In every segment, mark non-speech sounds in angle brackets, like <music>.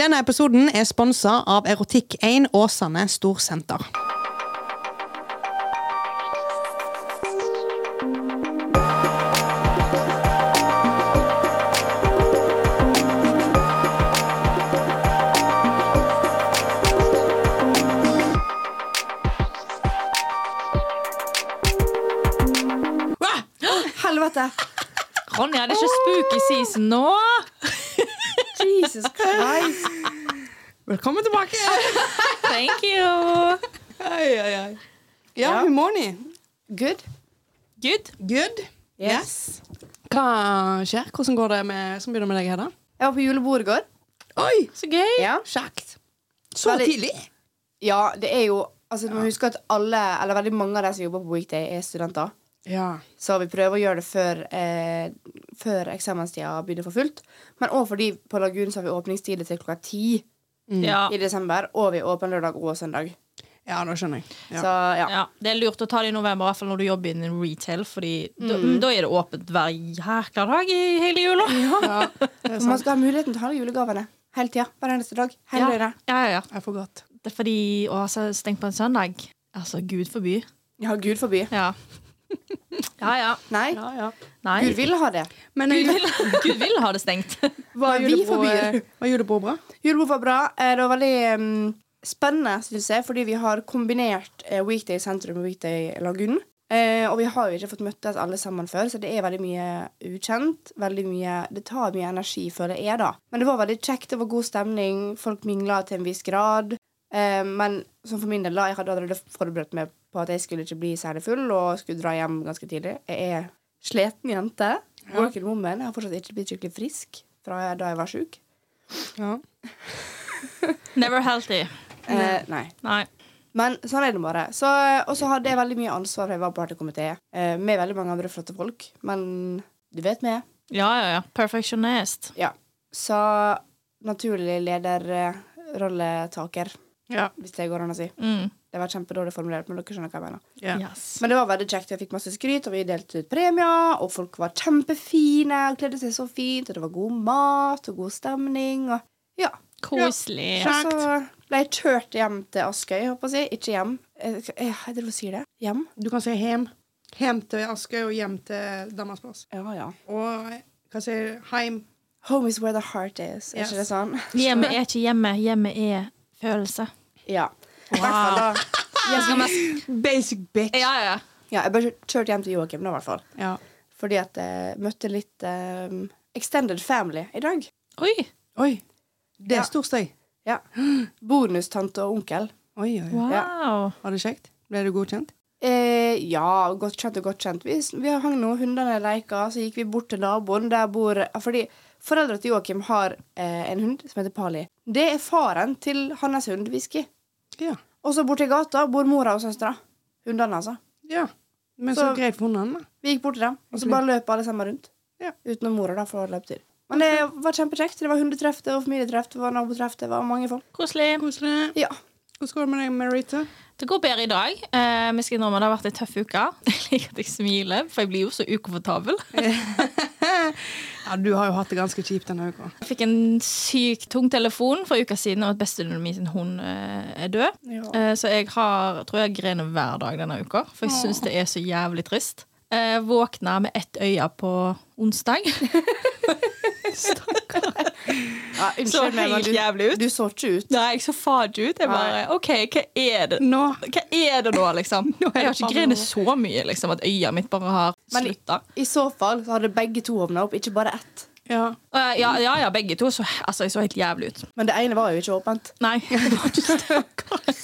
Denne episoden er sponsa av Erotikk1 Åsane Storsenter. Hva? Helvete! Ronja, det er ikke spooky season nå! Jesus Christ! Velkommen <laughs> tilbake! Thank you! Ai, ai, ai. Ja, Ja. hun Moni. Good? Good. Good? Yes. Hva skjer? Hvordan går det med Som begynner med deg, Hedda? Jeg var på julebord i går. Oi, Så gøy. Ja. kjekt. Så Veldig- tidlig? ja, det er jo Altså, man husker at alle, eller veldig mange av de som jobber på weekday, er studenter. Ja. Så vi prøver å gjøre det før, eh, før eksamenstida begynner for fullt. Men òg fordi på Lagunen så har vi åpningstider til klokka ti Ja. i desember. Og vi er åpne lørdag og søndag. ja, nå skjønner jeg. Ja. Så ja. Ja, Det er lurt å ta det i november, i hvert fall når du jobber innen retail, Fordi da, da er det åpent hver jækla dag i hele jula. <laughs> For man skal ha muligheten til å ha julegavene hele tida. Hver eneste dag. Hele ja, døgnet. ja, ja. Jeg forgot. Det er fordi å ha seg stengt på en søndag Altså, gud forby. Ja, Gud forby. Ja. Ja, ja. Nei. Ja, ja. Nei. Gud vil ha det. Men Gud jeg, vil, <laughs> Gud vil ha det stengt. var, Men vi julebordet, forbyr. var julebordet bra? Julebord var bra. Eh, Det var veldig mm, spennende, syns jeg, fordi vi har kombinert eh, Weekday sentrum og Weekday Lagunen. Eh, og vi har jo ikke fått møttes alle sammen før, så det er veldig mye ukjent. Veldig mye, det tar mye energi før det er, da. Men det var veldig kjekt, det var god stemning, folk mingla til en viss grad. Eh, men sånn for min del, da, jeg hadde allerede forberedt meg på at jeg skulle ikke bli særlig full, og skulle dra hjem ganske tidlig. Jeg er sliten jente. Working woman. Jeg har fortsatt ikke blitt skikkelig frisk fra da jeg var sjuk. Ja. Never healthy. Eh, nei. Nei. Men sånn er det bare. Så, og så hadde jeg veldig mye ansvar, for jeg var partykomité eh, med veldig mange andre flotte folk. Men du vet meg. Ja, ja, ja. Perfectionist. Ja. Så naturlig lederrolletaker, Ja. hvis det går an å si. Mm. Det var kjempedårlig formulert, men dere skjønner hva jeg mener. Ja. Yes. Men det var veldig kjekt, og jeg fikk masse skryt, og vi delte ut premier, og folk var kjempefine og kledde seg så fint, og det var god mat og god stemning, og ja. Koselig. Ja. Og så ble jeg kjørt hjem til Askøy, håper jeg. Ikke hjem. Jeg, jeg, jeg driver og sier det. Hjem. Du kan si hjem. Hjem til Askøy og hjem til Danmarksplass. Ja, ja. Og hva sier heim? Home is where the heart is. Er Yes. ikke det sånn? <laughs> Hjemmet er ikke hjemme. Hjemmet er følelse. Ja. I Wow. hvert fall da. Basic bitch. Ja, ja, ja. Ja, jeg bare kjørte hjem til Joakim nå, i hvert fall. Ja. Fordi at jeg møtte litt eh, extended family i dag. Oi. Oi. Det Ja. er stor støy. Ja. Bonustante og onkel. Oi, oi, oi. Wow. Var det kjekt? Ble du godkjent? Eh, ja, godt kjent og godt kjent. Vi, vi hang nå, hundene leika, så gikk vi bort til naboen. Der bor ja, Fordi foreldra til Joakim har eh, en hund som heter Pali. Det er faren til hans hund, Whisky. Ja. Og så borti gata bor mora og søstera. Hundene, altså. ja. Men så, Så- greit for hundene, da. Vi gikk bort til dem, og så bare løp alle sammen rundt. Ja. Utenom mora, da, for å løpe til. Men det var kjempekjekt. Det var hundetreff, det var familietreff, det var nabotreff, det var mange folk. Koselig. Koselig. Ja. Hvordan går det med deg, Merita? Det går bedre i dag. Eh, vi skal innrømme Det har vært ei tøff uke. <laughs> Jeg liker at jeg smiler, for jeg blir jo så ukomfortabel. Ja, du har jo hatt det ganske kjipt denne uka. Jeg fikk en sykt tung telefon for en uke siden om at bestevenninnen min sin hund eh, er død. ja. Eh, så jeg har, tror jeg grener hver dag denne uka, for jeg syns det er så jævlig trist. Eh, våkna med ett øye på <laughs> onsdag. Så unnskyld meg, men helt du, jævlig ut. du så ikke ut. Nei, jeg så fadig ut. Jeg bare OK, hva er det? Nå Hva er det <laughs> nå, liksom? det Jeg har ikke bare grenet noe. så mye liksom, at øya mitt bare har Men- slutta. I så fall så hadde begge to hovna opp, ikke bare ett. Ja. Eh, ja, ja, ja, begge to. Så, altså, jeg så helt jævlig ut. Men det ene var jo ikke åpent. Nei, <laughs> det var ikke stakkar.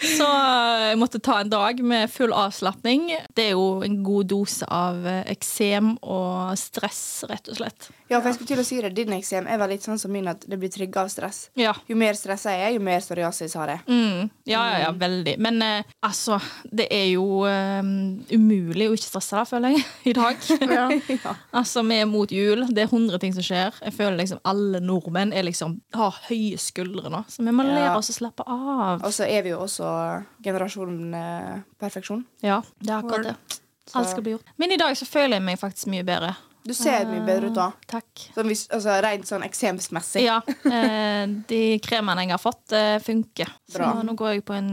Så eh, jeg måtte ta en dag med full avslapning. Det er jo en god dose av eh, eksem og stress, rett og slett. Ja, for jeg skulle til å si det, Din eksem er vel litt sånn som min, at det blir trigga av stress. Ja. Jo mer stressa jeg er, jo mer psoriasis har jeg. Mm. Ja, ja, ja, veldig. Men eh, altså, det er jo eh, umulig å ikke stresse, da, føler jeg, <laughs> i <laughs> dag. ja. altså, vi er mot jul. Det er 100 ting som skjer. Jeg føler liksom alle nordmenn er liksom, har høye skuldre nå, så vi må lære Ja. oss å slappe av. Og så er vi jo også generasjonen eh, perfeksjon. Ja, det er akkurat det. Alt skal bli gjort. Men i dag så føler jeg meg faktisk mye bedre. Ah, Du ser mye bedre ut da. Takk. Sånn hvis, altså, rent sånn eksemsmessig. Ja, eh, de kremene jeg har fått, eh, funker. Bra. Så nå går jeg på en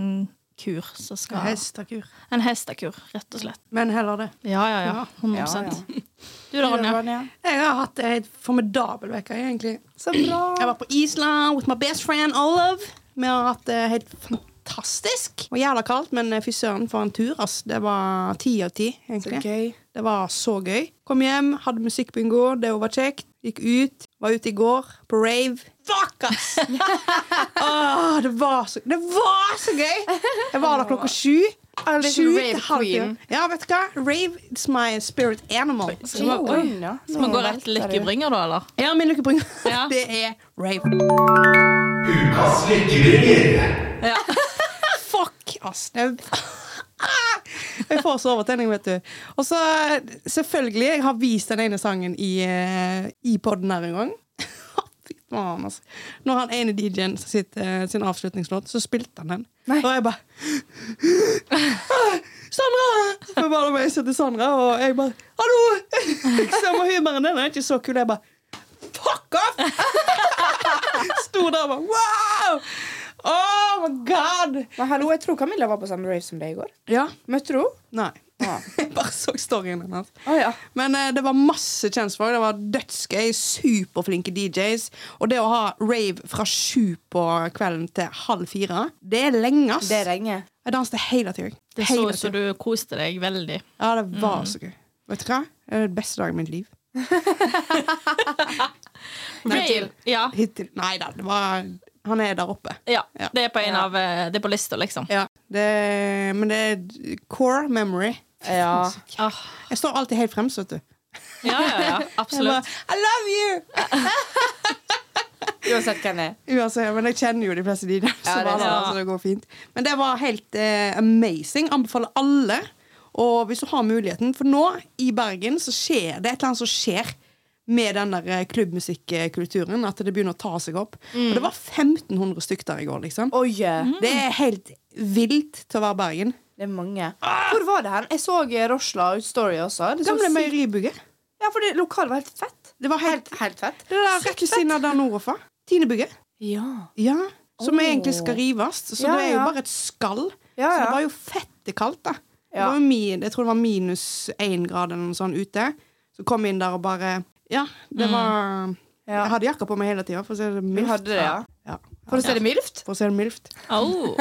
kur som Ja. skal Hestakur. En hestekur, rett og slett. Men heller det. Ja, ja, ja. 100 Du da, Ronja? Jeg har hatt en helt formidabel uke, egentlig. Så bra. Jeg var på Island with my best friend Olive. Vi har hatt det helt fantastisk. Det var jævla kaldt, men fy søren for en tur. ass. Det var ti av ti, Så egentlig. gøy. Det var så gøy. Kom hjem, hadde musikkbingo, det var kjekt. Gikk ut. Var ute i går, på rave. Fuck, ass! <laughs> Åh, det, var så, det var så gøy! Jeg var der klokka sju. Er det Sju til sånn rave halv ti. queen? Ja, vet du hva? Rave is my spirit animal. Skal vi gå- oi. Ronja. Skal vi gå rett til lykkebringer, da, eller? Ja, min lykkebringer. Ja. <laughs> Det er rave. Ukas lykkebringer. Ja. <laughs> Fuck, ass. Jeg, Ah! jeg får så overtenning, vet du. Og så, selvfølgelig, jeg har vist den ene sangen i, eh, i podden her en gang. <laughs> Fy faen, altså. Når han ene DJ-en som sitter, eh, sin avslutningslåt, så spilte han den. Nei. Og jeg bare <gasps> Sandra! Jeg bare meg til Sandra, og jeg bare Hallo! <laughs> Liksom, og humoren den er ikke så kul. Jeg bare Fuck off! <laughs> Sto der og bare Wow! Oh my god! Men hallo, jeg tror Camilla var på samme rave som deg i går. Ja. Møtte du henne? Nei. <laughs> Ah. Jeg bare så storyen hennes. Å, ja. Men eh, det var masse kjentfolk. Det var dødsgøy, superflinke DJs. Og det å ha rave fra sju på kvelden til halv fire, det er lenge, ass. Det ringer. Jeg danset hele tida. Det så ut som du koste deg veldig. Ja, det var så gøy. Vet du hva? Det er den beste dagen i mitt liv. Rail. Ja. Hittil. Nei da, det var Han er der oppe. ja. Ja. Det er på en av eh, Det er på lista, liksom. Ja. Det, men det er core memory. Ja. Ah. Jeg står alltid helt fremst, vet du. Ja, <laughs> ja, ja. Jeg bare, Absolutt. I love you! Uansett hvem det er. Uansett, men jeg kjenner jo de fleste de der, så, Ja, det er var det, sant. så det går fint. Men det var helt eh, amazing. Anbefaler alle. Og hvis du har muligheten, for nå i Bergen så skjer det et eller annet som skjer med den der eh, klubbmusikkulturen, at det begynner å ta seg opp. Mm. Og det var 1500 stykker der i går, liksom. Oi, eh, Det er helt vilt til å være Bergen. det er mange. Hvor var det hen? Jeg så eh, Rosla ut Story også. Det så Gamle sykt- Meieribygget. Ja, for det lokalet var helt fett. Det var helt, Helt fett. det der rett ved siden av der nordover. Tinebygget. Ja. Ja. Som Åh. egentlig skal rives. Så Ja, det er jo ja. bare et skall. Så Ja, ja. det var jo fette kaldt, da. Det Ja. var jo min, jeg tror det var minus én grad eller noe sånt ute. Så kom jeg inn der og bare Ja, det var Mm. Ja. Jeg hadde jakka på meg hele tida, for å si det Vi mildt. hadde det, ja. Ja. For å se det mildt. For å si det mildt. Au.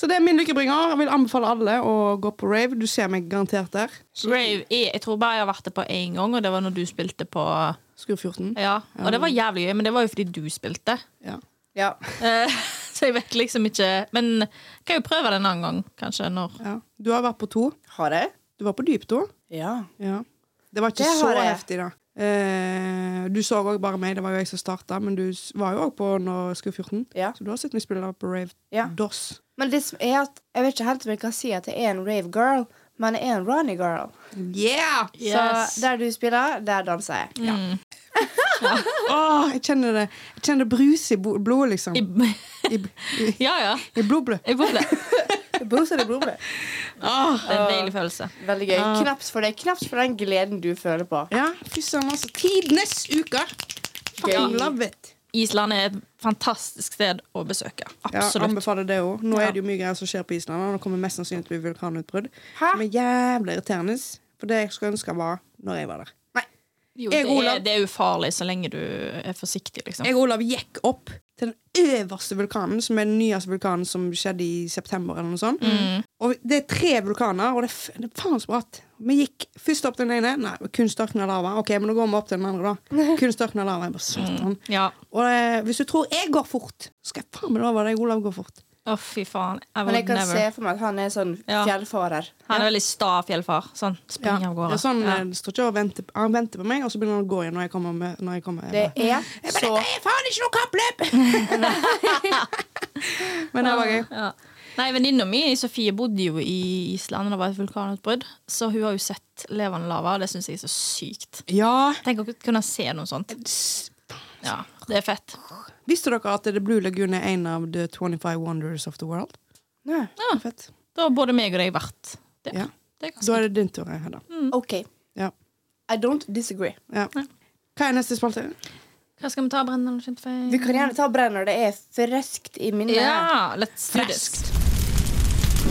Så det er min lykkebringer. Jeg vil anbefale alle å gå på rave. Du ser meg garantert der. Rave er Jeg tror bare jeg har vært det på én gang, og det var når du spilte på Skur 14. Ja. Og det var jævlig gøy, men det var jo fordi du spilte. Ja. Ja. Eh, <laughs> Så jeg vet liksom ikke Men jeg kan jo prøve det en annen gang, kanskje. Når Ja. Du har vært på to. Har jeg? Du var på dypto. Ja. Ja. Det var ikke Det så har jeg. heftig, da. Eh, du så òg bare meg, det var jo jeg som starta, men du s- var jo òg på når Skur 14. Ja. Så du har sett meg spille på rave Ja. DOS. Men det som er at jeg vet ikke helt om jeg kan si at jeg er en rave girl, men jeg er en Ronny girl. Yeah! Yes. Mm. Så der du spiller, der danser jeg. Åh, jeg kjenner det Jeg kjenner det brus i bo- blodet, liksom. I, i, i, <laughs> Ja, ja. i blodblod. Jeg <laughs> burde. Bruser det blodet. Åh, Det er en deilig følelse. Veldig gøy. Ah. Knaps for deg. Knaps for den gleden du føler på. Ja, fy søren, altså. Tidenes uke! Fucking Gøy. love it. Island er et fantastisk sted å besøke. Ja, Absolutt. anbefaler det også Nå Ja. er det jo mye greier som skjer på Island. og Nå kommer mest sannsynlig til å bli vulkanutbrudd. Hæ? Som er jævlig irriterende. For det jeg skulle ønske var når jeg var der. Jo, det, Jeg, Olav- er, det er ufarlig så lenge du er forsiktig, liksom. Jeg og Olav gikk opp til den øverste vulkanen, som er den nyeste vulkanen som skjedde i september. eller noe sånt. Og Det er tre vulkaner, og det er, f- det er faen så bratt. Vi gikk først opp til den ene. Nei, kunst, ørken og lava. Ok, men da går vi opp til den <laughs> andre, da. Kunst, ørken og lava. Jeg bare, satan. Ja. Og eh, hvis du tror jeg går fort, skal jeg faen meg love deg Olav går fort. Å, fy faen. I Men jeg would kan never. se for meg at han er sånn Ja. fjellfarer. Han er veldig sta fjellfar. Sånn, spring Det av gårde. er sånn, Ja. eh, det står ikke og venter, Han venter på meg, og så begynner han å gå igjen når jeg kommer. Med, når jeg kommer Det Jeg er bare, så «Dette er faen ikke noe kappløp! <laughs> men det var gøy. Ja. Nei, Venninna mi Sofie bodde jo i Island da det var et vulkanutbrudd, så hun har jo sett levende lava. og Det syns jeg er så sykt. Ja, Tenk å kunne se noe sånt. Ja, Det er fett. Visste dere at The Blue Lagoon er en av the 25 wonders of the world? Nei. Fett. Da har både meg og deg vært der. Ja. Det er ganske Da er det din tur, Hedda. OK. Ja. I don't disagree. Ja. Hva er neste spalte? Hva skal vi ta, Brennan eller kjent feil? Vi kan gjerne ta Brenner. Det er friskt i minnet. Ja, let's do this. Friskt.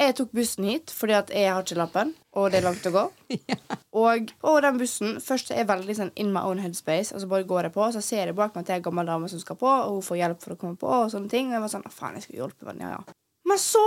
Jeg tok bussen hit fordi at jeg har ikke lappen, og det er langt å gå. Og, og den bussen Først er jeg veldig sånn in my own headspace, og så bare går jeg på, og så ser jeg bak meg at det er en gammel dame som skal på, og hun får hjelp for å komme på, og sånne ting. Og jeg var sånn, «Å, faen, jeg skulle hjelpe henne, ja, ja. Men så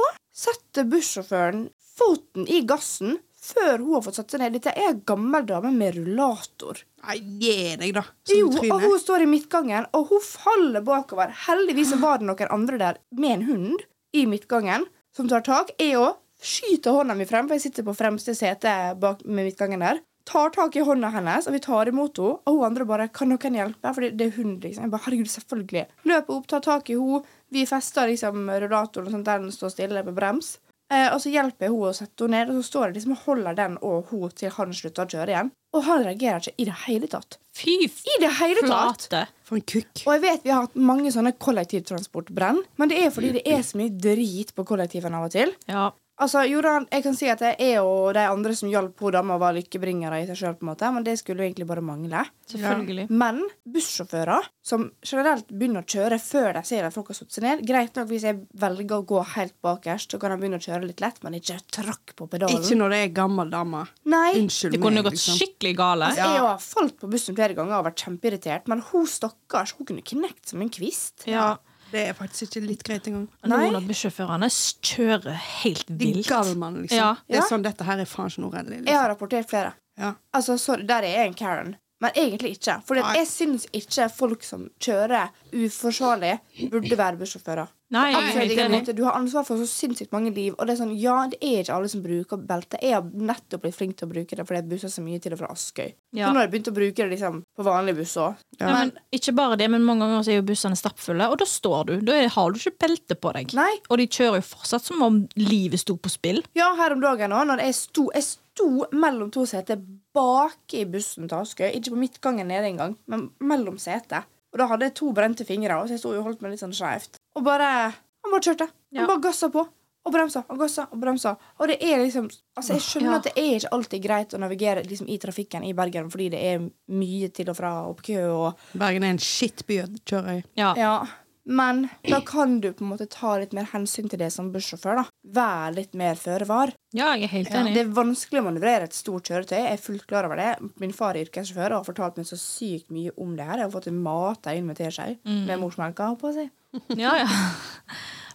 setter bussjåføren foten i gassen før hun har fått satt seg ned. Dette er en gammel dame med rullator. Nei, gi deg, da. Jo, Som og tryne. hun står i midtgangen, og hun faller bakover. Heldigvis så var det noen andre der med en hund i midtgangen som tar tak. Jeg òg skyter hånda mi frem, for jeg sitter på fremste sete bak med midtgangen der. Tar tak i hånda hennes, og vi tar imot henne. Og hun andre bare 'Kan noen hjelpe?' For det, det er hun, liksom. Jeg bare, herregud, selvfølgelig. Løper opp, tar tak i henne. Vi fester liksom rullatoren og sånt der den står stille på brems. Eh, og så hjelper jeg henne å sette henne ned, og så står jeg liksom og holder den og hun til han slutter å kjøre igjen. Og han reagerer ikke i det hele tatt. Fy I det hele tatt! flate. For en kukk. Og jeg vet vi har hatt mange sånne kollektivtransportbrenn, men det er Mm. fordi det er så mye drit på kollektiven av og til. Ja. Altså, Jordan, jeg kan si at jeg og de andre som hjalp hun dama, var lykkebringere i seg sjøl, på en måte, men det skulle jo egentlig bare mangle. Selvfølgelig. Men bussjåfører som generelt begynner å kjøre før de ser at folk har satt seg ned Greit nok hvis jeg velger å gå helt bakerst, så kan de begynne å kjøre litt lett, men ikke trakk på pedalen. Ikke når det er gammel dame. Nei. Unnskyld Det kunne meg, gått liksom. skikkelig gale. Altså, Jeg har falt på bussen flere ganger og vært kjempeirritert, men hun stakkars, hun kunne knekt som en kvist. Ja. Det er faktisk ikke litt greit engang. Noen av bussjåførene kjører helt De vilt. galman, liksom. Ja. Det er Ja. sånn, dette her er faen ikke noe redelig. Jeg Liksom. har rapportert flere. Ja. Altså, sorry, der er jeg en Karen. Men egentlig ikke. For Nei. jeg syns ikke folk som kjører uforsvarlig, burde være bussjåfører. Nei, jeg er Absolutt helt ikke. enig. måte. Du har ansvar for så sinnssykt mange liv. Og det er sånn, ja, det er ikke alle som bruker belte. Jeg har nettopp blitt flink til å bruke det fordi jeg busser så mye til og fra Askøy. Ja. Så nå har jeg begynt å bruke det liksom, på vanlig buss òg. Ja, men, ikke bare det, men mange ganger så er jo bussene stappfulle, og da står du. Da er- har du ikke belte på deg. Nei. Og de kjører jo fortsatt som om livet sto på spill. Ja, her om dagen òg, når jeg sto, jeg sto mellom to seter bak i bussen til Askøy. Ikke på midtgangen nede engang, men mellom seter. Og da hadde jeg to brente fingre, og så jeg sto jo og holdt meg litt sånn skjevt. Og bare Han bare kjørte. Han Ja. bare gassa på. Og bremsa og gassa og bremsa. Og det er liksom Altså, jeg skjønner Ja. at det er ikke alltid greit å navigere liksom, i trafikken i Bergen fordi det er mye til og fra og kø og Bergen er en skittby å kjøre i. Ja. Ja. Men da kan du på en måte ta litt mer hensyn til det som bussjåfør, da. Vær litt mer føre var. Ja, jeg er helt Ja, enig. det er vanskelig å manøvrere et stort kjøretøy. Jeg er fullt klar over det. Min far er yrkessjåfør og har fortalt meg så sykt mye om det her. Jeg har fått mata inn med teskje med morsmelka. holdt på å si. Ja, <laughs> ja.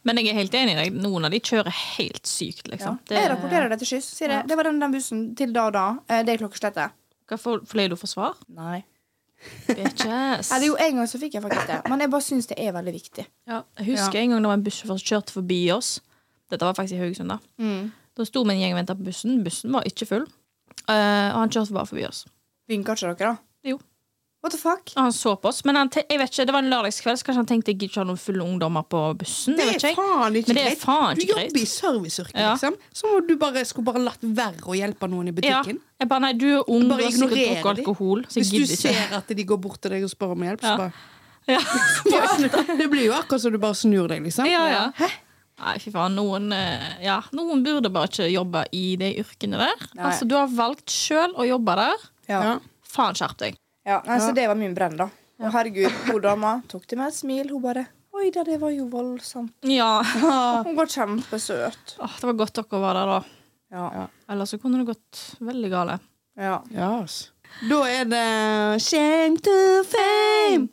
Men jeg er helt enig i deg. Noen av de kjører helt sykt, Ja. liksom. Jeg rapporterer det til skyss. Sier det. Ja. det var den, den bussen til da og da. Eh, Det er klokkeslettet. Hva får får du <laughs> for svar? Nei. Bitches. Eller jo, en gang så fikk jeg faktisk det. Men jeg bare syns det er veldig viktig. Ja, jeg husker en gang det var en bussjåfør som kjørte forbi oss. Dette var faktisk i Haugesund. Da Mm. Da sto vi en gjeng og venta på bussen. Bussen var ikke full. Eh, og han kjørte bare forbi oss. Vinker ikke dere, da? Jo. What the fuck? Og han så på oss. Men han, te- jeg vet ikke, det var en lørdagskveld, så kanskje han tenkte jeg gidder ikke ha noen fulle ungdommer på bussen. Det er jeg vet ikke. faen ikke Men det er greit. faen Du ikke greit. jobber i serviceyrket, Ja. liksom. Så må du bare, skulle bare latt være å hjelpe noen i Ja. butikken. Jeg bare, nei, du er ung, du Bare har sikkert ignorerer drukket de. alkohol, så jeg Hvis du gidder ikke. ser at de går bort til deg og spør om hjelp, så Ja. bare <laughs> Ja. Bare snu- Det blir jo akkurat som du bare snur deg, liksom. Ja, ja. Nei, fy faen. Noen, eh, ja, noen burde bare ikke jobbe i de yrkene der. Nei. Altså, Du har valgt sjøl å jobbe der. Ja. Ja. Faen, skjerp deg. Ja, nei, Så det var min brenn, da. Og herregud, hun dama tok det med et smil. Hun bare Oi da, det var jo voldsomt. Ja. Hun var kjempesøt. Åh, det var godt dere var der, da. Ja. Ellers så kunne det gått veldig gale. ja. Ja, ass. Da er det Shame to fame.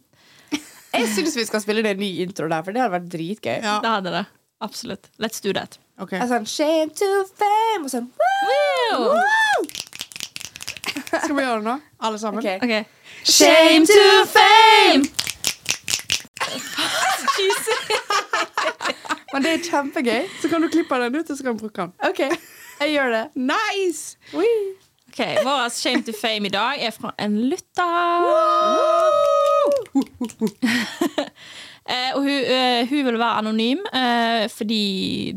Jeg syns vi skal spille det ny intro der, for det hadde vært dritgøy. Ja. Det hadde det. Absolutt. Let's do that. Ok. Jeg er sånn, shame to fame Og sånn woo! Wow! Skal vi gjøre det nå, alle sammen? Ok. Ok. Shame to fame! <laughs> Men det er kjempegøy Så kan du klippe den ut, og så kan du bruke den. Ok, jeg gjør det Nice! Ok, Vår shame to fame i dag er fra en lytter. Eh, og hun, eh, hun vil være anonym eh, fordi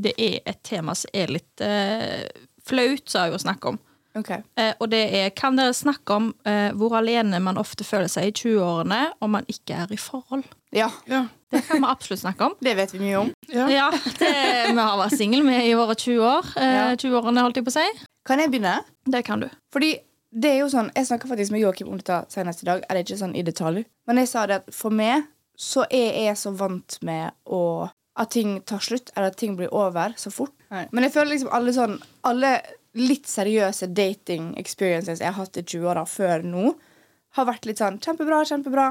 det er et tema som er litt eh, flaut, sa hun å snakke om. Ok Eh, og det er Kan dere snakke om eh, hvor alene man ofte føler seg i 20-årene om man ikke er i forhold? Ja, Ja. Det kan vi absolutt snakke om. Det vet vi mye om. Ja. Ja, det, Vi har vært single vi, i våre 20 år. Eh, Ja. 20-årene, holdt jeg på å si. Kan jeg begynne? Det kan du. Fordi det er jo sånn, Jeg snakka faktisk med Joakim om dette senest i dag. Eller ikke sånn i detalj. Men jeg sa det at for meg så er jeg så vant med å at ting tar slutt, eller at ting blir over så fort. Men jeg føler liksom alle sånn Alle litt seriøse dating experiences jeg har hatt i 20-åra før nå, har vært litt sånn kjempebra, kjempebra,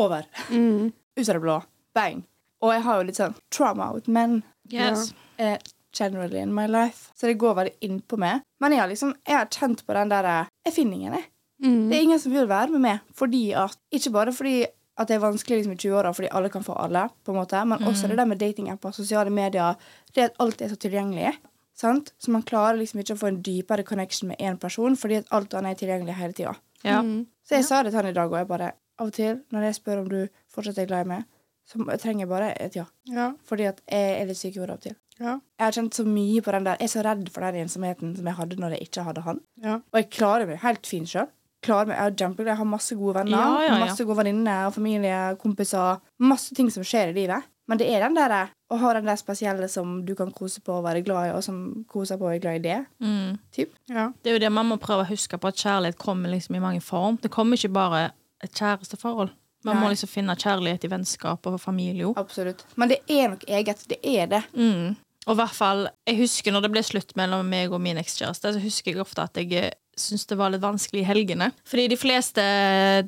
over. Ut av det blå. Bang. Og jeg har jo litt sånn trauma with men Yes. eh, generally in my life. Så det går veldig innpå meg. Men jeg har liksom, jeg har kjent på den der eh, Jeg finner ingen, jeg. Mm. Mm. Det er ingen som vil være med meg. Fordi at, Ikke bare fordi at det er vanskelig liksom, i 20-åra, fordi alle kan få alle, på en måte, men også det der med datingapper, sosiale medier, det at alt er så tilgjengelig. Sant? Så man klarer liksom ikke å få en dypere connection med én person fordi at alt annet er tilgjengelig hele tida. Ja. Så jeg sa det til han i dag, og jeg bare Av og til, når jeg spør om du fortsatt er glad i meg, så trenger jeg bare et ja. Ja. Fordi at jeg er litt syk i hodet av og til. Ja. Jeg har kjent så mye på den der Jeg er så redd for den ensomheten som jeg hadde når jeg ikke hadde han. Ja. Og jeg klarer meg helt fint sjøl. Klarer meg, Jeg er kjempeglad. Jeg har masse gode venner. Ja, ja, ja. Masse gode venninner og familie, kompiser. Masse ting som skjer i livet. Men det er den der å ha den der spesielle som du kan kose på og være glad i, og som koser på og er glad i det. Mm. Typ. Ja. Det er jo det man må prøve å huske på, at kjærlighet kommer liksom i mange form. Det kommer ikke bare et kjæresteforhold. Man må Nei. liksom finne kjærlighet i vennskap og familie. også. Absolutt. Men det er nok eget. Det er det. Mm. Og i hvert fall, jeg husker når det ble slutt mellom meg og min ekskjæreste, så husker jeg ofte at jeg eh, syntes det var litt vanskelig i helgene. Fordi de fleste,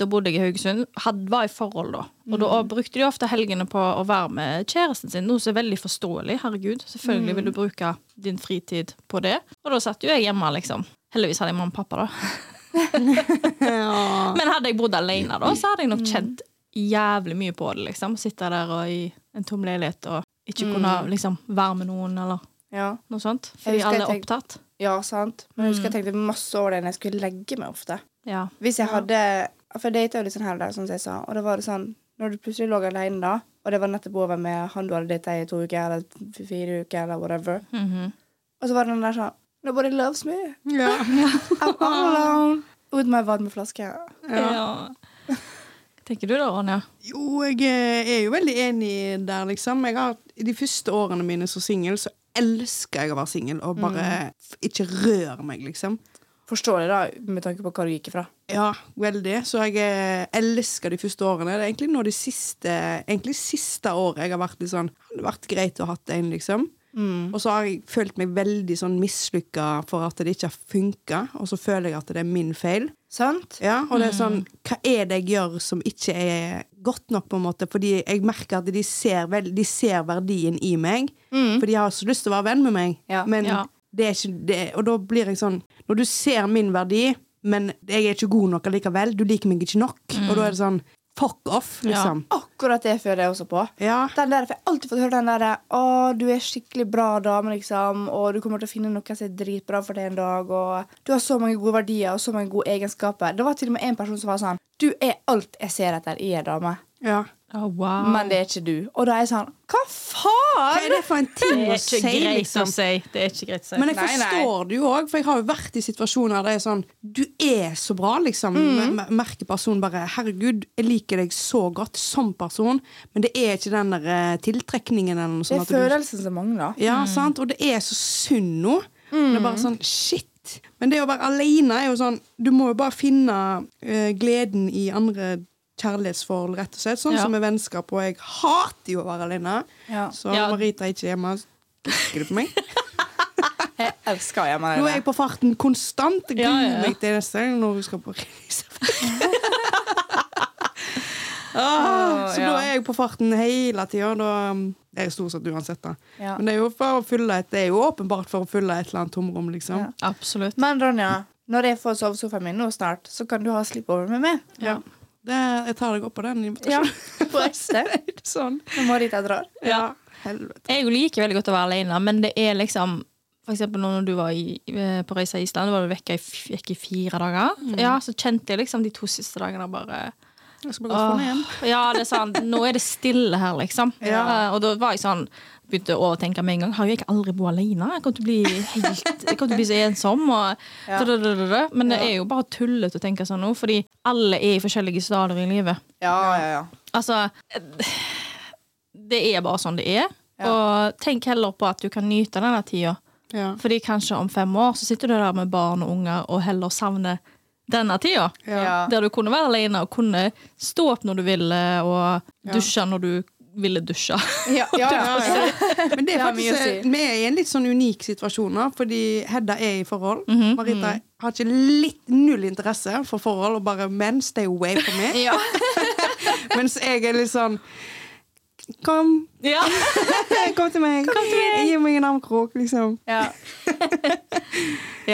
da bodde jeg i Haugesund, had- var i forhold da. Og da brukte de ofte helgene på å være med kjæresten sin, noe som er veldig forståelig. Herregud, selvfølgelig vil du bruke din fritid på det. Og da satt jo jeg hjemme, liksom. Heldigvis hadde jeg mamma og pappa, da. Ja. Men hadde jeg bodd alene da, så hadde jeg nok kjent jævlig mye på det. liksom. Sitte der og i en tom leilighet og ikke kunne liksom, være med noen eller Ja. noe sånt. Jeg Fordi husker jeg alle er tenkte- opptatt. Ja, sant. Men jeg husker jeg tenkte masse over det når jeg skulle legge meg ofte. Ja. Hvis jeg hadde For jeg data jo litt sånn her og der, som jeg sa. Og det var det sånn Når du plutselig lå alene da, og det var nettopp over med han du hadde data i to uker eller f- fire uker eller whatever, Mhm. og så var det den der sånn Nobody loves me. Ja. <laughs> I'm all alone. With my varmeflaske. ja. Tenker du da, Ronja? Jo, jeg eh, er jo veldig enig der, liksom. Jeg har, I de første årene mine som singel, så elsker jeg å være singel og bare Mm. f- ikke rør meg, liksom. Forstår det, da, med tanke på hva du gikk ifra. Ja, veldig. Så jeg eh, elsker de første årene. Det er egentlig nå de siste Egentlig siste året jeg har vært litt sånn Hadde vært greit å hatt en, liksom. Mm. Og så har jeg følt meg veldig sånn mislykka for at det ikke har funka, og så føler jeg at det er min feil. Sant? Ja, og det er sånn, Hva er det jeg gjør som ikke er godt nok? på en måte Fordi jeg merker at de ser, vel, de ser verdien i meg. For de har så lyst til å være venn med meg. Ja, Men Mm. ja. det er ikke det, Og da blir jeg sånn Når du ser min verdi, men jeg er ikke god nok allikevel, du liker meg ikke nok, Mm. og da er det sånn Fuck off, liksom. Akkurat det føler jeg også på. Ja. Den der, for jeg har alltid fått høre den derre Å, du er skikkelig bra dame, liksom, og du kommer til å finne noe som er dritbra for deg en dag, og du har så mange gode verdier og så mange gode egenskaper. Det var til og med en person som var sånn Du er alt jeg ser etter i ei dame, Ja. Oh, wow. men det er ikke du. Og da er jeg sånn Ah. Hva Hva er faen? det for en ting det å er si, ikke greit liksom? å si. Det er ikke greit å si. Men jeg Nei, nei. forstår det jo òg, for jeg har jo vært i situasjoner der det er sånn Du er så bra, liksom. Mm. Merker personen bare Herregud, jeg liker deg så godt som person, men det er ikke den der eh, tiltrekningen eller noe Det sånt. er at du- følelsen som mangler. Ja, sant? Og det er så synd nå. Det er bare sånn Shit. Men det å være alene er jo sånn Du må jo bare finne eh, gleden i andre kjærlighetsforhold, rett og slett. Sånn Ja. som med vennskap, og jeg hater jo å være alene. Ja. Så Ja. Marita er ikke hjemme. Skriker du på meg? Jeg elsker hjemme Nå er jeg på farten konstant. Jeg Ja, gruer ja, ja. meg til neste gang når hun skal på Ah, så da ja. er jeg på farten hele tida. Da um, det er stort sett uansett, da. Ja. Men det er, jo for å fylle et, det er jo åpenbart for å fylle et eller annet tomrom, liksom. Absolutt. Men Ronja, når jeg får sovesofaen min nå snart, så kan du ha slipover med meg. Ja. Det, jeg tar deg opp på den <laughs> Ja, invitasjonen. på ekte. Er det <laughs> sånn. Når Marita drar. Ja. Helvete. Jeg liker veldig godt å være alene, men det er liksom for eksempel nå når du var i, eh, på reise i Island, var du vekk i, f- vekk i fire dager. Ja, Så kjente jeg liksom de to siste dagene bare Jeg skal bare gå igjen. Åh, Ja, det er sånn, nå er det stille her, liksom. Eh, og da var jeg sånn Begynte å overtenke med en gang. Har jo jeg aldri bodd alene? Jeg kommer til å bli, helt, jeg kommer til å bli så ensom. Og, Ja. da, da, da, da, da. Men det er jo bare tullete å tenke sånn nå, fordi alle er i forskjellige stadier i livet. Ja, ja, ja. Altså eh, det er bare sånn det er. Og tenk heller på at du kan nyte denne tida. Ja. Fordi kanskje om fem år så sitter du der med barn og unger og heller savner denne tida. Ja. Ja. Der du kunne være alene og kunne stå opp når du ville, og dusje når du ville <laughs> dusje. Ja, ja, ja, ja. Men det er Det har mye faktisk, eh, å si. vi er i en litt sånn unik situasjon nå, fordi Hedda er i forhold. Mhm. Marita har ikke litt null interesse for forhold, og bare 'men, stay away from <laughs> me'. Ja. Mens jeg er litt sånn Kom, <laughs> ja. kom til meg. Gi meg en armkrok, liksom. Ja.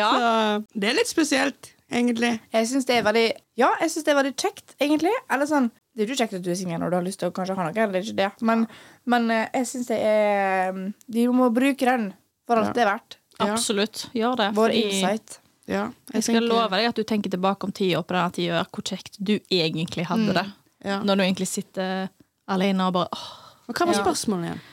Ah. Så det er litt spesielt, egentlig. Jeg syns det er veldig Ja, jeg synes det er veldig kjekt, egentlig. Eller sånn Det er jo ikke kjekt at du er singel når du har lyst til å kanskje ha noe, eller ikke det. Men, men eh, jeg syns det er De må bruke den for alt Ja. det er verdt. Absolutt. Gjør det. Vår fordi insight. Ja, jeg skal tenker- love deg at du tenker tilbake om tida på denne tida, hvor kjekt du egentlig hadde det. Mm. Ja. Når du egentlig sitter alene og bare åh. Og Hva var Ja. spørsmålet igjen?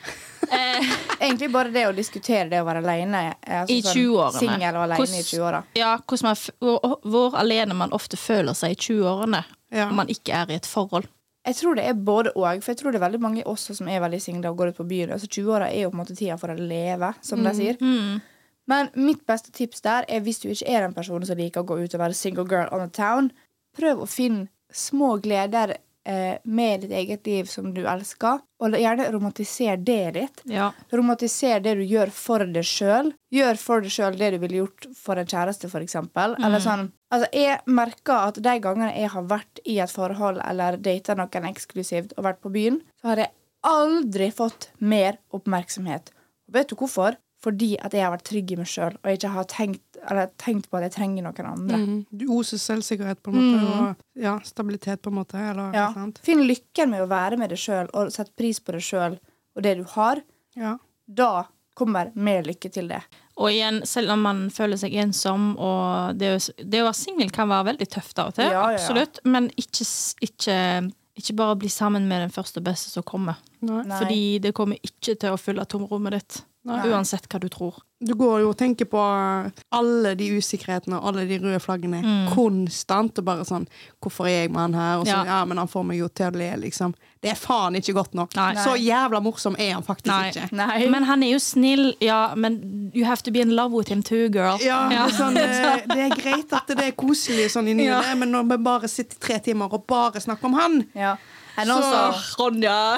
Eh, Egentlig bare det å diskutere det å være alene. eh, Altså I 20-årene. Singel og alene Hvordan- i 20-åra. ja, hvordan man, f- hvor, hvor alene man ofte føler seg i 20-årene Ja. om man ikke er i et forhold. Jeg tror det er både òg, for jeg tror det er veldig mange også som er veldig single og går ut på byen. Altså 20-åra er jo på en måte tida for å leve, som Mm. de sier. Men mitt beste tips der er hvis du ikke er den personen som liker å gå ut og være single girl on the town, prøv å finne små gleder eh, med ditt eget liv som du elsker, og gjerne romantiser det litt. Ja. Romantiser det du gjør for deg sjøl. Gjør for deg sjøl det du ville gjort for en kjæreste, f.eks. eksempel Eller sånn. Altså, jeg merker at de gangene jeg har vært i et forhold eller data noen eksklusivt og vært på byen, så har jeg aldri fått mer oppmerksomhet. Og vet du hvorfor? Fordi at jeg har vært trygg i meg sjøl og ikke har tenkt, eller tenkt på at jeg trenger noen andre. Mhm. Mhm. Du oser selvsikkerhet, på en måte, og ja, stabilitet, på en måte. Eller, Ja. ikke sant? Finn lykken med å være med deg sjøl og sette pris på deg sjøl og det du har. Ja. Da kommer mer lykke til det. Og igjen, selv om man føler seg ensom, og det, å- det å være singel kan være veldig tøft av og til, Ja, ja, ja. absolutt, men ikke, s- ikke, ikke bare bli sammen med den første og beste som kommer. Nei. Nei. Fordi det kommer ikke til å fylle tomrommet ditt, uansett hva du tror. Du går jo og tenker på eh, alle de usikkerhetene og alle de røde flaggene konstant. Og bare sånn 'Hvorfor er jeg med han her?' Og så, Mm. Ja. ja. men han får meg jo til å le, liksom. Det er faen ikke godt nok. Nei. Så jævla morsom er han faktisk Nei. ikke. Nei. Men han er jo snill, ja, men you have to be in love with him too, girl. Ja, det er Sånn, <laughs> eh, det er greit at det er koselig sånn i ny og ne, men når vi bare sitter i tre timer og bare snakker om han Ja. Er det Så- noen som <laughs> Ronja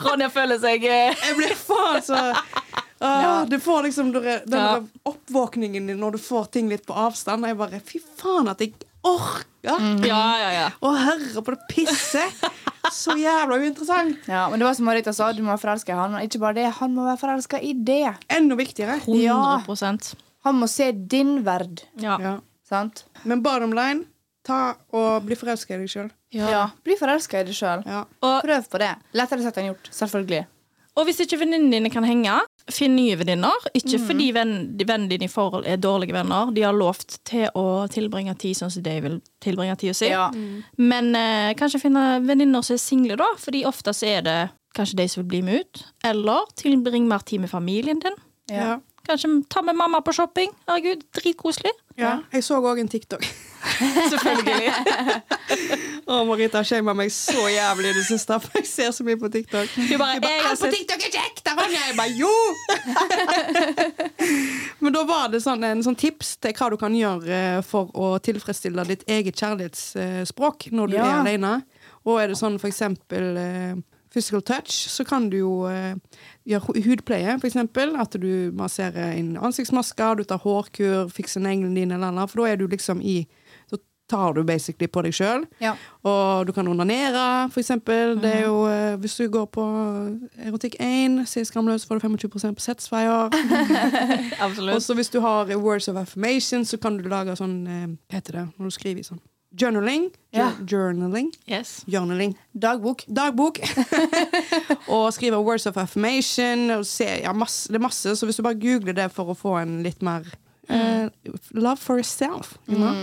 Ronja føler seg eh, Jeg blir faen så <laughs> Åh, Du får liksom den den der oppvåkningen din når du får ting litt på avstand. Og jeg bare Fy faen at jeg orker! Ja, ja, ja. Å høre på det pisset! Så jævla uinteressant. Ja, men det var som Marita sa, du må være forelska i han. Men ikke bare det, han må være forelska i det. Enda viktigere. 100 Han må se din verd. Ja. Ja. Sant? Men bottom line ta og bli forelska i deg sjøl. Ja. Bli forelska i deg sjøl. Ja. Og Prøv på det. Lettere sagt enn gjort. Selvfølgelig. Og hvis ikke venninnene dine kan henge, finn nye venninner. Ikke Mm. fordi venn- de vennene dine i forhold er dårlige venner. De har lovt til å tilbringe tid sånn som de vil tilbringe tida si. Ja. Men eh, kanskje finne venninner som er single, da. Fordi ofte så er det kanskje de som vil bli med ut. Eller tilbring mer tid med familien din. Ja. Ja. Kanskje ta med mamma på shopping. Herregud, dritkoselig. Ja. Jeg så òg en <laughs> TikTok. Selvfølgelig. Å, Marita har shama meg så jævlig i det siste. For jeg ser så mye på TikTok. Du bare, Jeg bare, jeg har Alt på sett- TikTok er kjekt! Der var jeg bare, jo! <laughs> Men da var det sånn, en sånn tips til hva du kan gjøre eh, for å tilfredsstille ditt eget kjærlighetsspråk når du Ja. er alene. Og er det sånn for eksempel eh, physical touch, så kan du jo eh, gjøre hu- hudpleie, for eksempel. At du masserer inn ansiktsmasker, du tar hårkur, fikser neglene dine, eller annet. For da er du liksom i Da tar du basically på deg sjøl. Ja. Og du kan onanere, for eksempel. Det er jo, eh, hvis du går på Erotikk 1, sier Skamløs, får du 25 på <laughs> Setsveier. Og Absolutt. så hvis du har eh, Words of Affirmation, så kan du lage sånn eh, Hva heter det når du skriver i sånn? Journaling. Ja. Jour- Journaling. Yes. Journaling. Dagbok. <laughs> Dagbok. og skrive Words of Affirmation. Og se, ja, masse, det er masse, så hvis du bare googler det for å få en litt mer eh, Love for yourself. You know?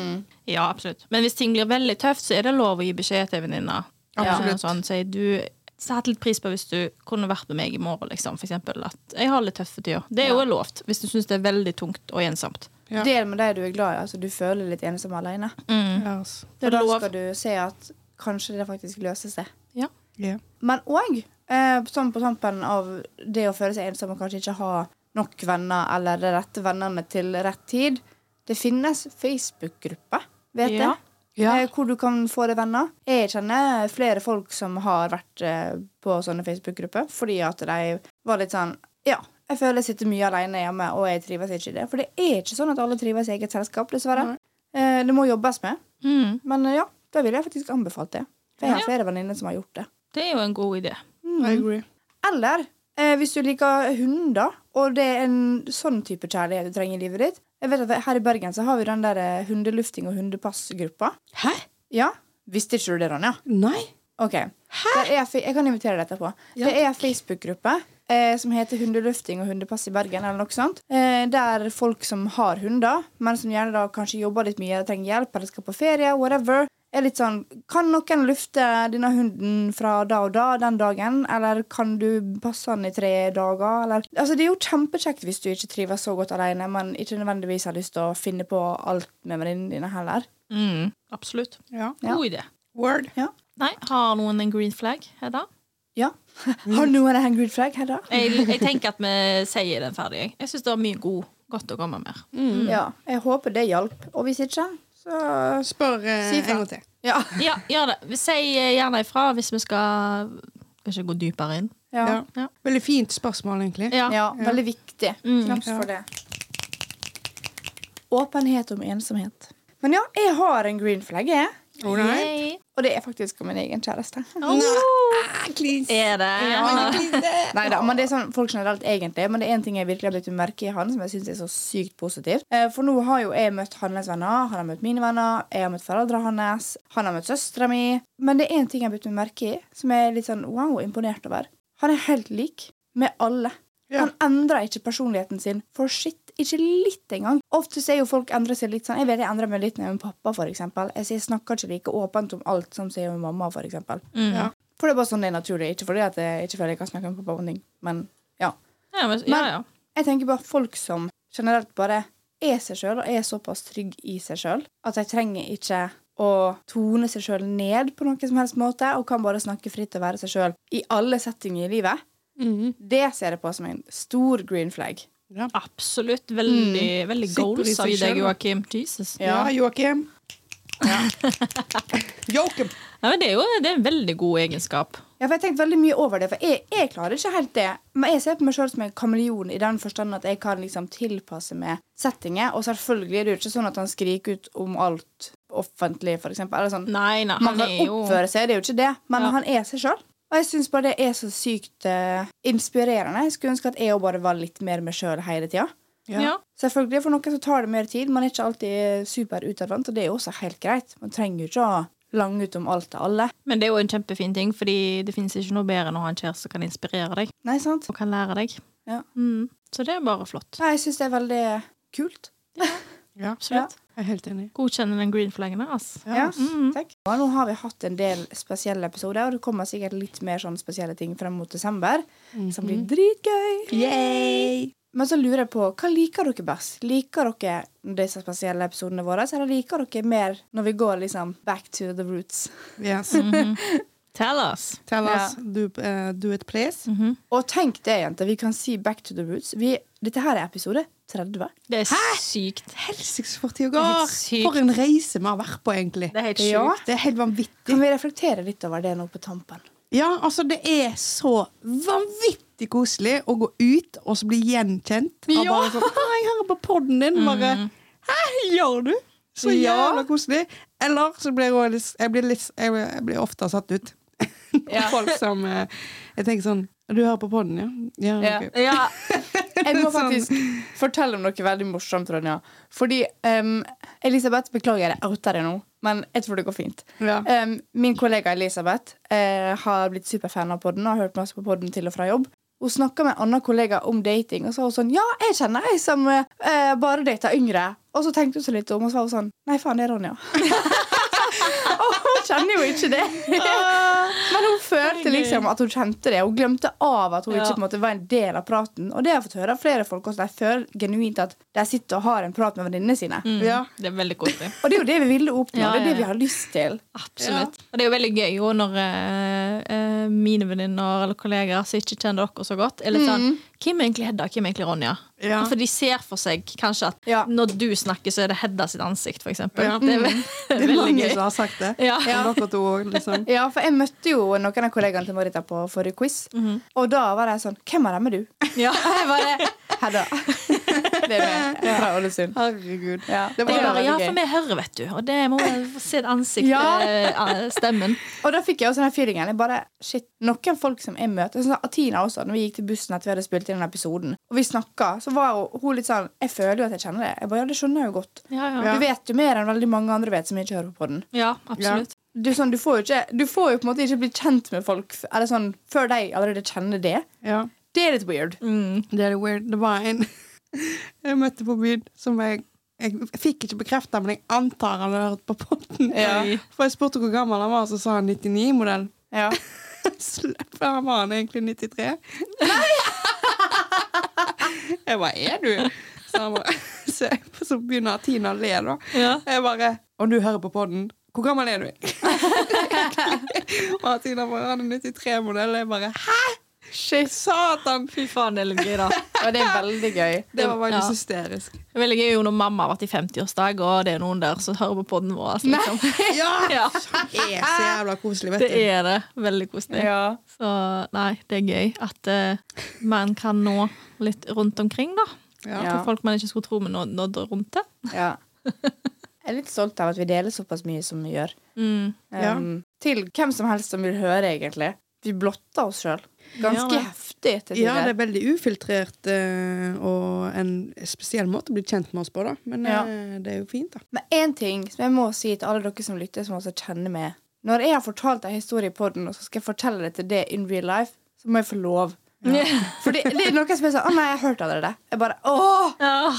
Ja, absolutt. Men hvis ting blir veldig tøft, så er det lov å gi beskjed til venninna. Absolutt. Ja. Sånn, si du satt litt pris på hvis du kunne vært med meg i morgen, liksom. For eksempel at jeg har litt tøffe tider. Det er jo lovt, hvis du syns det er veldig tungt og ensomt. Ja. Del med de du er glad i, altså du føler litt ensom alene. Mm. Ja, altså. Og Det er da lov. skal du se at kanskje det faktisk løser seg. Ja. Ja. Men òg, eh, sånn på tampen av det å føle seg ensom og kanskje ikke ha nok venner eller de rette vennene til rett tid, det finnes Facebook-grupper, vet jeg, Ja. Ja. eh, hvor du kan få deg venner. Jeg kjenner flere folk som har vært eh, på sånne Facebook-grupper, fordi at de var litt sånn Ja, jeg føler jeg sitter mye alene hjemme, og jeg trives ikke i det. For det er ikke sånn at alle trives i eget selskap, dessverre. Eh, det må jobbes med. Mm. Men eh, ja, da ville jeg faktisk anbefalt det. For jeg har Ja. flere venninner som har gjort det. Det er jo en god idé. I agree. Eller eh, hvis du liker hunder, og det er en sånn type kjærlighet du trenger i livet ditt. Jeg vet at Her i Bergen så har vi den der eh, hundelufting- og hundepassgruppa. Hæ? Ja, Visste ikke du det, Ronja? Nei? Ok, Det er, fe- Jeg kan invitere deg etterpå. Ja, det er en Facebook-gruppe eh, som heter Hundelufting og hundepass i Bergen. eller noe sånt. Eh, der folk som har hunder, men som gjerne da kanskje jobber litt mye, eller trenger hjelp eller skal på ferie, whatever, er litt sånn Kan noen lufte denne hunden fra da og da den dagen? Eller kan du passe han i tre dager? Eller, altså, det er jo kjempekjekt hvis du ikke trives så godt alene, men ikke nødvendigvis har lyst til å finne på alt med venninnene dine heller. Mm. Absolutt. Ja. Ja. God idé. Word. Nei, har noen en green flag, Hedda? Ja. <laughs> Har noen en green flag her, da? Jeg, jeg tenker at vi sier den ferdig. jeg. Jeg syns det var mye god, godt å komme med. Ja, jeg håper det hjalp. Og hvis ikke, så Spør eh, Si en fra. gang til. Ja. Ja, gjør det. Si eh, gjerne ifra hvis vi skal Kanskje gå dypere inn. Ja. Ja. Ja. Veldig fint spørsmål, egentlig. Ja. veldig viktig. Mm. Knaps Ja. for det. Åpenhet om ensomhet. Men ja, jeg har en green flag, jeg. Å, nei? Yay. Og det er faktisk om min egen kjæreste. Ah, please. Er det? Ah, please, det- Nei da, men det er sånn folk generelt egentlig. Men det er en ting jeg virkelig har blitt merke i han, som jeg synes er så sykt positivt. Eh, For nå har jo jeg møtt hans venner, han har møtt mine venner, jeg har møtt foreldrene hans, han har møtt søstera mi. Men det er en ting jeg har blitt merke i, som jeg er litt sånn wow, imponert over. Han er helt lik med alle. Ja. Han endrer ikke personligheten sin for shit. Ikke litt engang. Ofte ser jo folk endre seg litt sånn. Jeg vet jeg endrer meg litt når jeg er med pappa, for eksempel. Jeg sier- snakker ikke like åpent om alt som jeg gjør med mamma, for eksempel. Ja. For det er bare sånn det er naturlig. Ikke fordi at jeg ikke føler jeg kan snakke med pappa om ting, men ja. Ja, men, ja, ja. Jeg tenker bare folk som generelt bare er seg sjøl, og er såpass trygg i seg sjøl, at de trenger ikke å tone seg sjøl ned på noen som helst måte, og kan bare snakke fritt og være seg sjøl i alle settinger i livet. Mhm. Det ser jeg på som en stor green flag. Absolutt. Veldig, veldig Sitter i goals seg av deg, selv, da. Joakim. Jesus. Ja, Ja. Joakim. <laughs> Joakim. Ja, men det er jo det er en veldig god egenskap. Ja, for Jeg har tenkt veldig mye over det, for jeg, jeg klarer ikke helt det. Men jeg ser på meg sjøl som en kameleon i den forstand at jeg kan liksom tilpasse meg settinger. Og selvfølgelig er det jo ikke sånn at han skriker ut om alt offentlig, for eksempel. Eller sånn. Nei, nei, Man han kan er jo oppføre seg, det er jo ikke det, men Ja. han er seg sjøl. Og jeg syns bare det er så sykt eh, inspirerende. Jeg skulle ønske at jeg òg bare var litt mer meg sjøl hele tida. Ja. Selvfølgelig For noen så tar det mer tid. Man er ikke alltid superutadvendt, og det er jo også helt greit. Man trenger jo ikke å lange ut om alt til alle. Men det er jo en kjempefin ting, fordi det finnes ikke noe bedre enn å ha en kjæreste som kan inspirere deg Nei, sant? og kan lære deg. Ja. Mm. Så det er bare flott. Nei, jeg syns det er veldig kult. Ja, Absolutt. jeg er helt enig. Godkjenner den green flaggen der, ass. Ja. Takk. Og nå har vi hatt en del spesielle episoder, og det kommer sikkert litt mer sånn spesielle ting frem mot desember. Som blir dritgøy. Yay! Men så lurer jeg på, hva liker dere best? Liker dere disse spesielle episodene våre, eller liker dere mer når vi går liksom back to the roots? Yes. Tell us. Tell Ja. us. Do, eh, do it, please. Og tenk det, jenter, vi kan si back to the roots. Vi, dette her er episode 30. Det er sykt. Helsikes for ti Det er år! helt sykt. For en reise vi har vært på, egentlig. Det er helt Ja. sjukt. Det er helt vanvittig. Kan vi reflektere litt over det nå på tampen? Ja, altså det er så vanvittig koselig å gå ut og så bli gjenkjent. Og Ja. Mm. bare sånn, «Å, jeg hører på podden din. Bare, Hæ, gjør du? Så Ja. jævla koselig. Eller så blir jeg, også litt, jeg, blir litt, jeg blir- jeg blir ofte satt ut. <laughs> Når Folk som eh, Jeg tenker sånn Du hører på podden, ja? Ja. ok.» <laughs> Ja. Jeg må Sånn. faktisk fortelle om noe veldig morsomt, Ronja. Fordi em, Elisabeth, beklager, jeg outer deg nå, men jeg tror det går fint. Ja. Em, min kollega Elisabeth eh, har blitt superfan av podden og har hørt masse på podden til og fra jobb. Hun snakka med en annen kollega om dating, og så var hun sånn Ja, jeg kjenner ei som eh, bare dater yngre. Og så tenkte hun seg litt om, og så var hun sånn Nei, faen, det er Ronja. <laughs> og hun kjenner jo ikke det. Ah. Men hun følte liksom at hun kjente det. Hun glemte av at hun Ja. ikke på en måte var en del av praten. Og det har jeg fått høre av flere folk også. De føler genuint at de sitter og har en prat med venninnene sine. Ja. Det er veldig koselig. Og det er jo det vi ville oppnå. Mm. Ja, Det er ja, det vi ja. har lyst til. Absolutt. Og det er jo veldig gøy jo når eh, eh, eh, mine venninner eller kolleger som ikke kjenner dere så godt, er litt sånn Hvem er egentlig Hedda, hvem er egentlig Ronja? Ja. <laughs> For de ser for seg kanskje at Ja. når du snakker, så er det Hedda sitt ansikt, for eksempel. Ja. Det er ve- Det er veldig mange gøy. som har sagt det. Ja. Som dere to òg, liksom. <laughs> Ja, for jeg møtte jo noen av kollegaene til Marita på forrige quiz. Og da var de sånn Hvem av dem er du? <laughs> <laughs> Ja, jeg bare, Hedda. <laughs> Det er meg fra Ålesund. Herregud. Ja. Det jeg var bare, veldig ja, gøy. for vi hører, vet du. Og det må jeg få se et ansikt, Ja. eh, eh, stemmen. Og da fikk jeg også den feelingen. Jeg bare, shit, Noen folk som jeg møter sånn som Atina også, når vi gikk til bussen etter vi hadde spilt inn den episoden, og vi snakka, så var jo hun litt sånn Jeg føler jo at jeg kjenner det. Jeg bare, ja, det skjønner jeg jo godt. Ja, ja. Du vet jo mer enn veldig mange andre vet som ikke hører på den. ja absolutt. Du, er sånn, du, får jo ikke, du får jo på en måte ikke bli kjent med folk f- Eller sånn, før de allerede kjenner det. Ja. Det er litt weird. Mm. Det er det weird. Det var en <laughs> jeg møtte på byen som jeg jeg fikk ikke bekrefta, men jeg antar han hadde hørt på potten. Ja. For jeg spurte hvor gammel han var, så sa han <laughs> 99-modell. Ja. Slipper han var han egentlig 93? Nei! <laughs> Jeg bare 'Er du?' Så, han bare, <laughs> så, jeg, så begynner Tina å le, da. Ja. Jeg bare 'Om du hører på podden, hvor gammel er du?' Og Tina bare 'Han er 93-modell'. Jeg bare 'Hæ?! Shit. Satan! Fy faen, <laughs> det er litt gøy, da. Og det er veldig gøy. <laughs> Det var faktisk Ja. hysterisk. Det er veldig gøy jo når mamma har vært i 50-årsdag, og det er noen der som hører på podden vår. altså, Liksom. <laughs> Ja! Ja, Det er <laughs> så jævla koselig, vet det du. er det. Veldig koselig. Ja. Så nei, det er gøy at eh, man kan nå litt rundt omkring, da. Ja. Til folk man ikke skulle tro man nå- nådde rundt til. ja. Jeg er litt stolt av at vi deler såpass mye som vi gjør. Mm. Ja. Um, Til hvem som helst som vil høre, egentlig. Vi blotter oss sjøl. Ganske Ja, ja. heftig. Til Ja, det tider. er veldig ufiltrert eh, og en spesiell måte å bli kjent med oss på, da. Men Ja. eh, det er jo fint, da. Men én ting som jeg må si til alle dere som lytter, som også kjenner meg Når jeg har fortalt en historie på den, og så skal jeg fortelle det til det in real life, så må jeg få lov. For det, det er noen som er sånn 'Å nei, jeg har hørt allerede'. Jeg bare 'Åh!' Ja.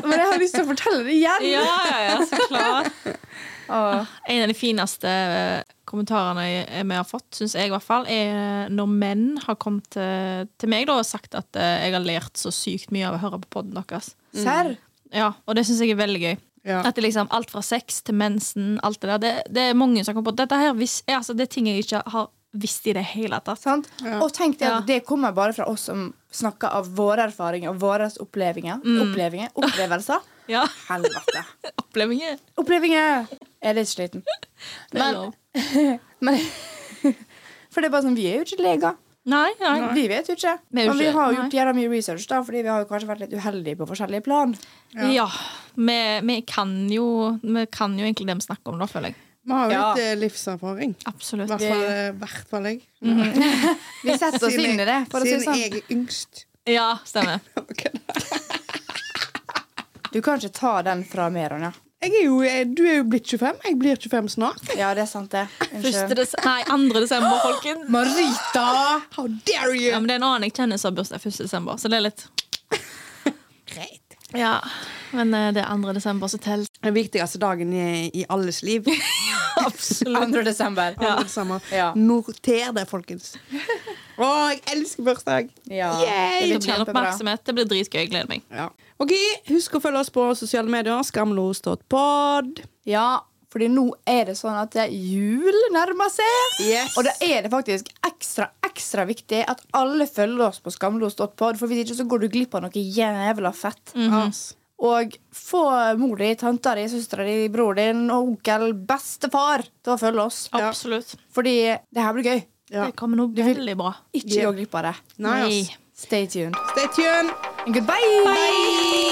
Men jeg har lyst til å fortelle det igjen. <laughs> ja, ja, ja, så klart. Åh. En av de fineste eh, kommentarene jeg- vi har fått, syns jeg i hvert fall, er eh, når menn har kommet til, til meg da, og sagt at eh, jeg har lært så sykt mye av å høre på podden deres. Serr? Ja, og det syns jeg er veldig gøy. Ja. At det liksom Alt fra sex til mensen, alt det der. Det, det er mange som kommer på at dette her vis, er, altså, det er ting jeg ikke har visst i det hele tatt. Sant? Og tenk det Ja. at det kommer bare fra oss som snakker av våre erfaringer og våre opplevinger. Mm. Opplevinger? Opplevelser? Ja, <laughs> Helvete. Opplevelser. Opplevinger! Jeg er litt sliten. Det er Men- lov. Men, for det er bare sånn, vi er jo ikke leger. Nei, nei. Vi vet jo ikke. Vi er jo Men vi ikke- har jo nei. gjort jævla mye research, da, fordi vi har jo kanskje vært litt uheldige på forskjellige plan. Ja. vi, vi, kan jo, vi kan jo egentlig det vi snakker om nå, føler jeg. Vi har jo Ja. litt eh, livserfaring. I Absolutt. hvert fall, eh, hvert fall jeg. Vi setter <laughs> oss Siden inn i det. jeg- For å si det Siden sånn. jeg er yngst. <laughs> Ja, <laughs> stemmer. Ok, da. Du kan ikke ta den fra meg, Ronja. Jeg er jo, eh, du er jo blitt 25. Jeg blir 25 snart. Ja, det er sant, det. Første Unnskyld. des nei, andre desember, <laughs> folkens. Marita! How dare Ja, you! men det er en annen jeg kjenner som har bursdag 1. desember, så det er litt Greit. Ja. Men eh, det er 2. desember som teller. Den viktigste dagen i, i alles <laughs> liv. Absolutt. 2. desember. Alle sammen. Ja. Noter det, folkens. Å, jeg elsker bursdag! Ja. Yay! Det Det blir blir kjempebra. oppmerksomhet. Det blir dritgøy. Jeg gleder meg. Ja. Ok, Husk å følge oss på sosiale medier. Skamlos.pod. Ja, fordi nå er det sånn at det er jul nærmer seg. Yes. Og da er det faktisk ekstra ekstra viktig at alle følger oss på skamlos.pod, for hvis ikke så går du glipp av noe jævla fett. Mm. Mhm. Ass. Og få mor di, tanta di, søstera di, bror din, onkel, bestefar til å følge oss. Absolutt. Fordi det her blir gøy. Ja. Det kommer noe veldig bra. Ikke gå glipp av det. Nei, ass. Stay tuned. Stay tuned! Goodbye! Bye.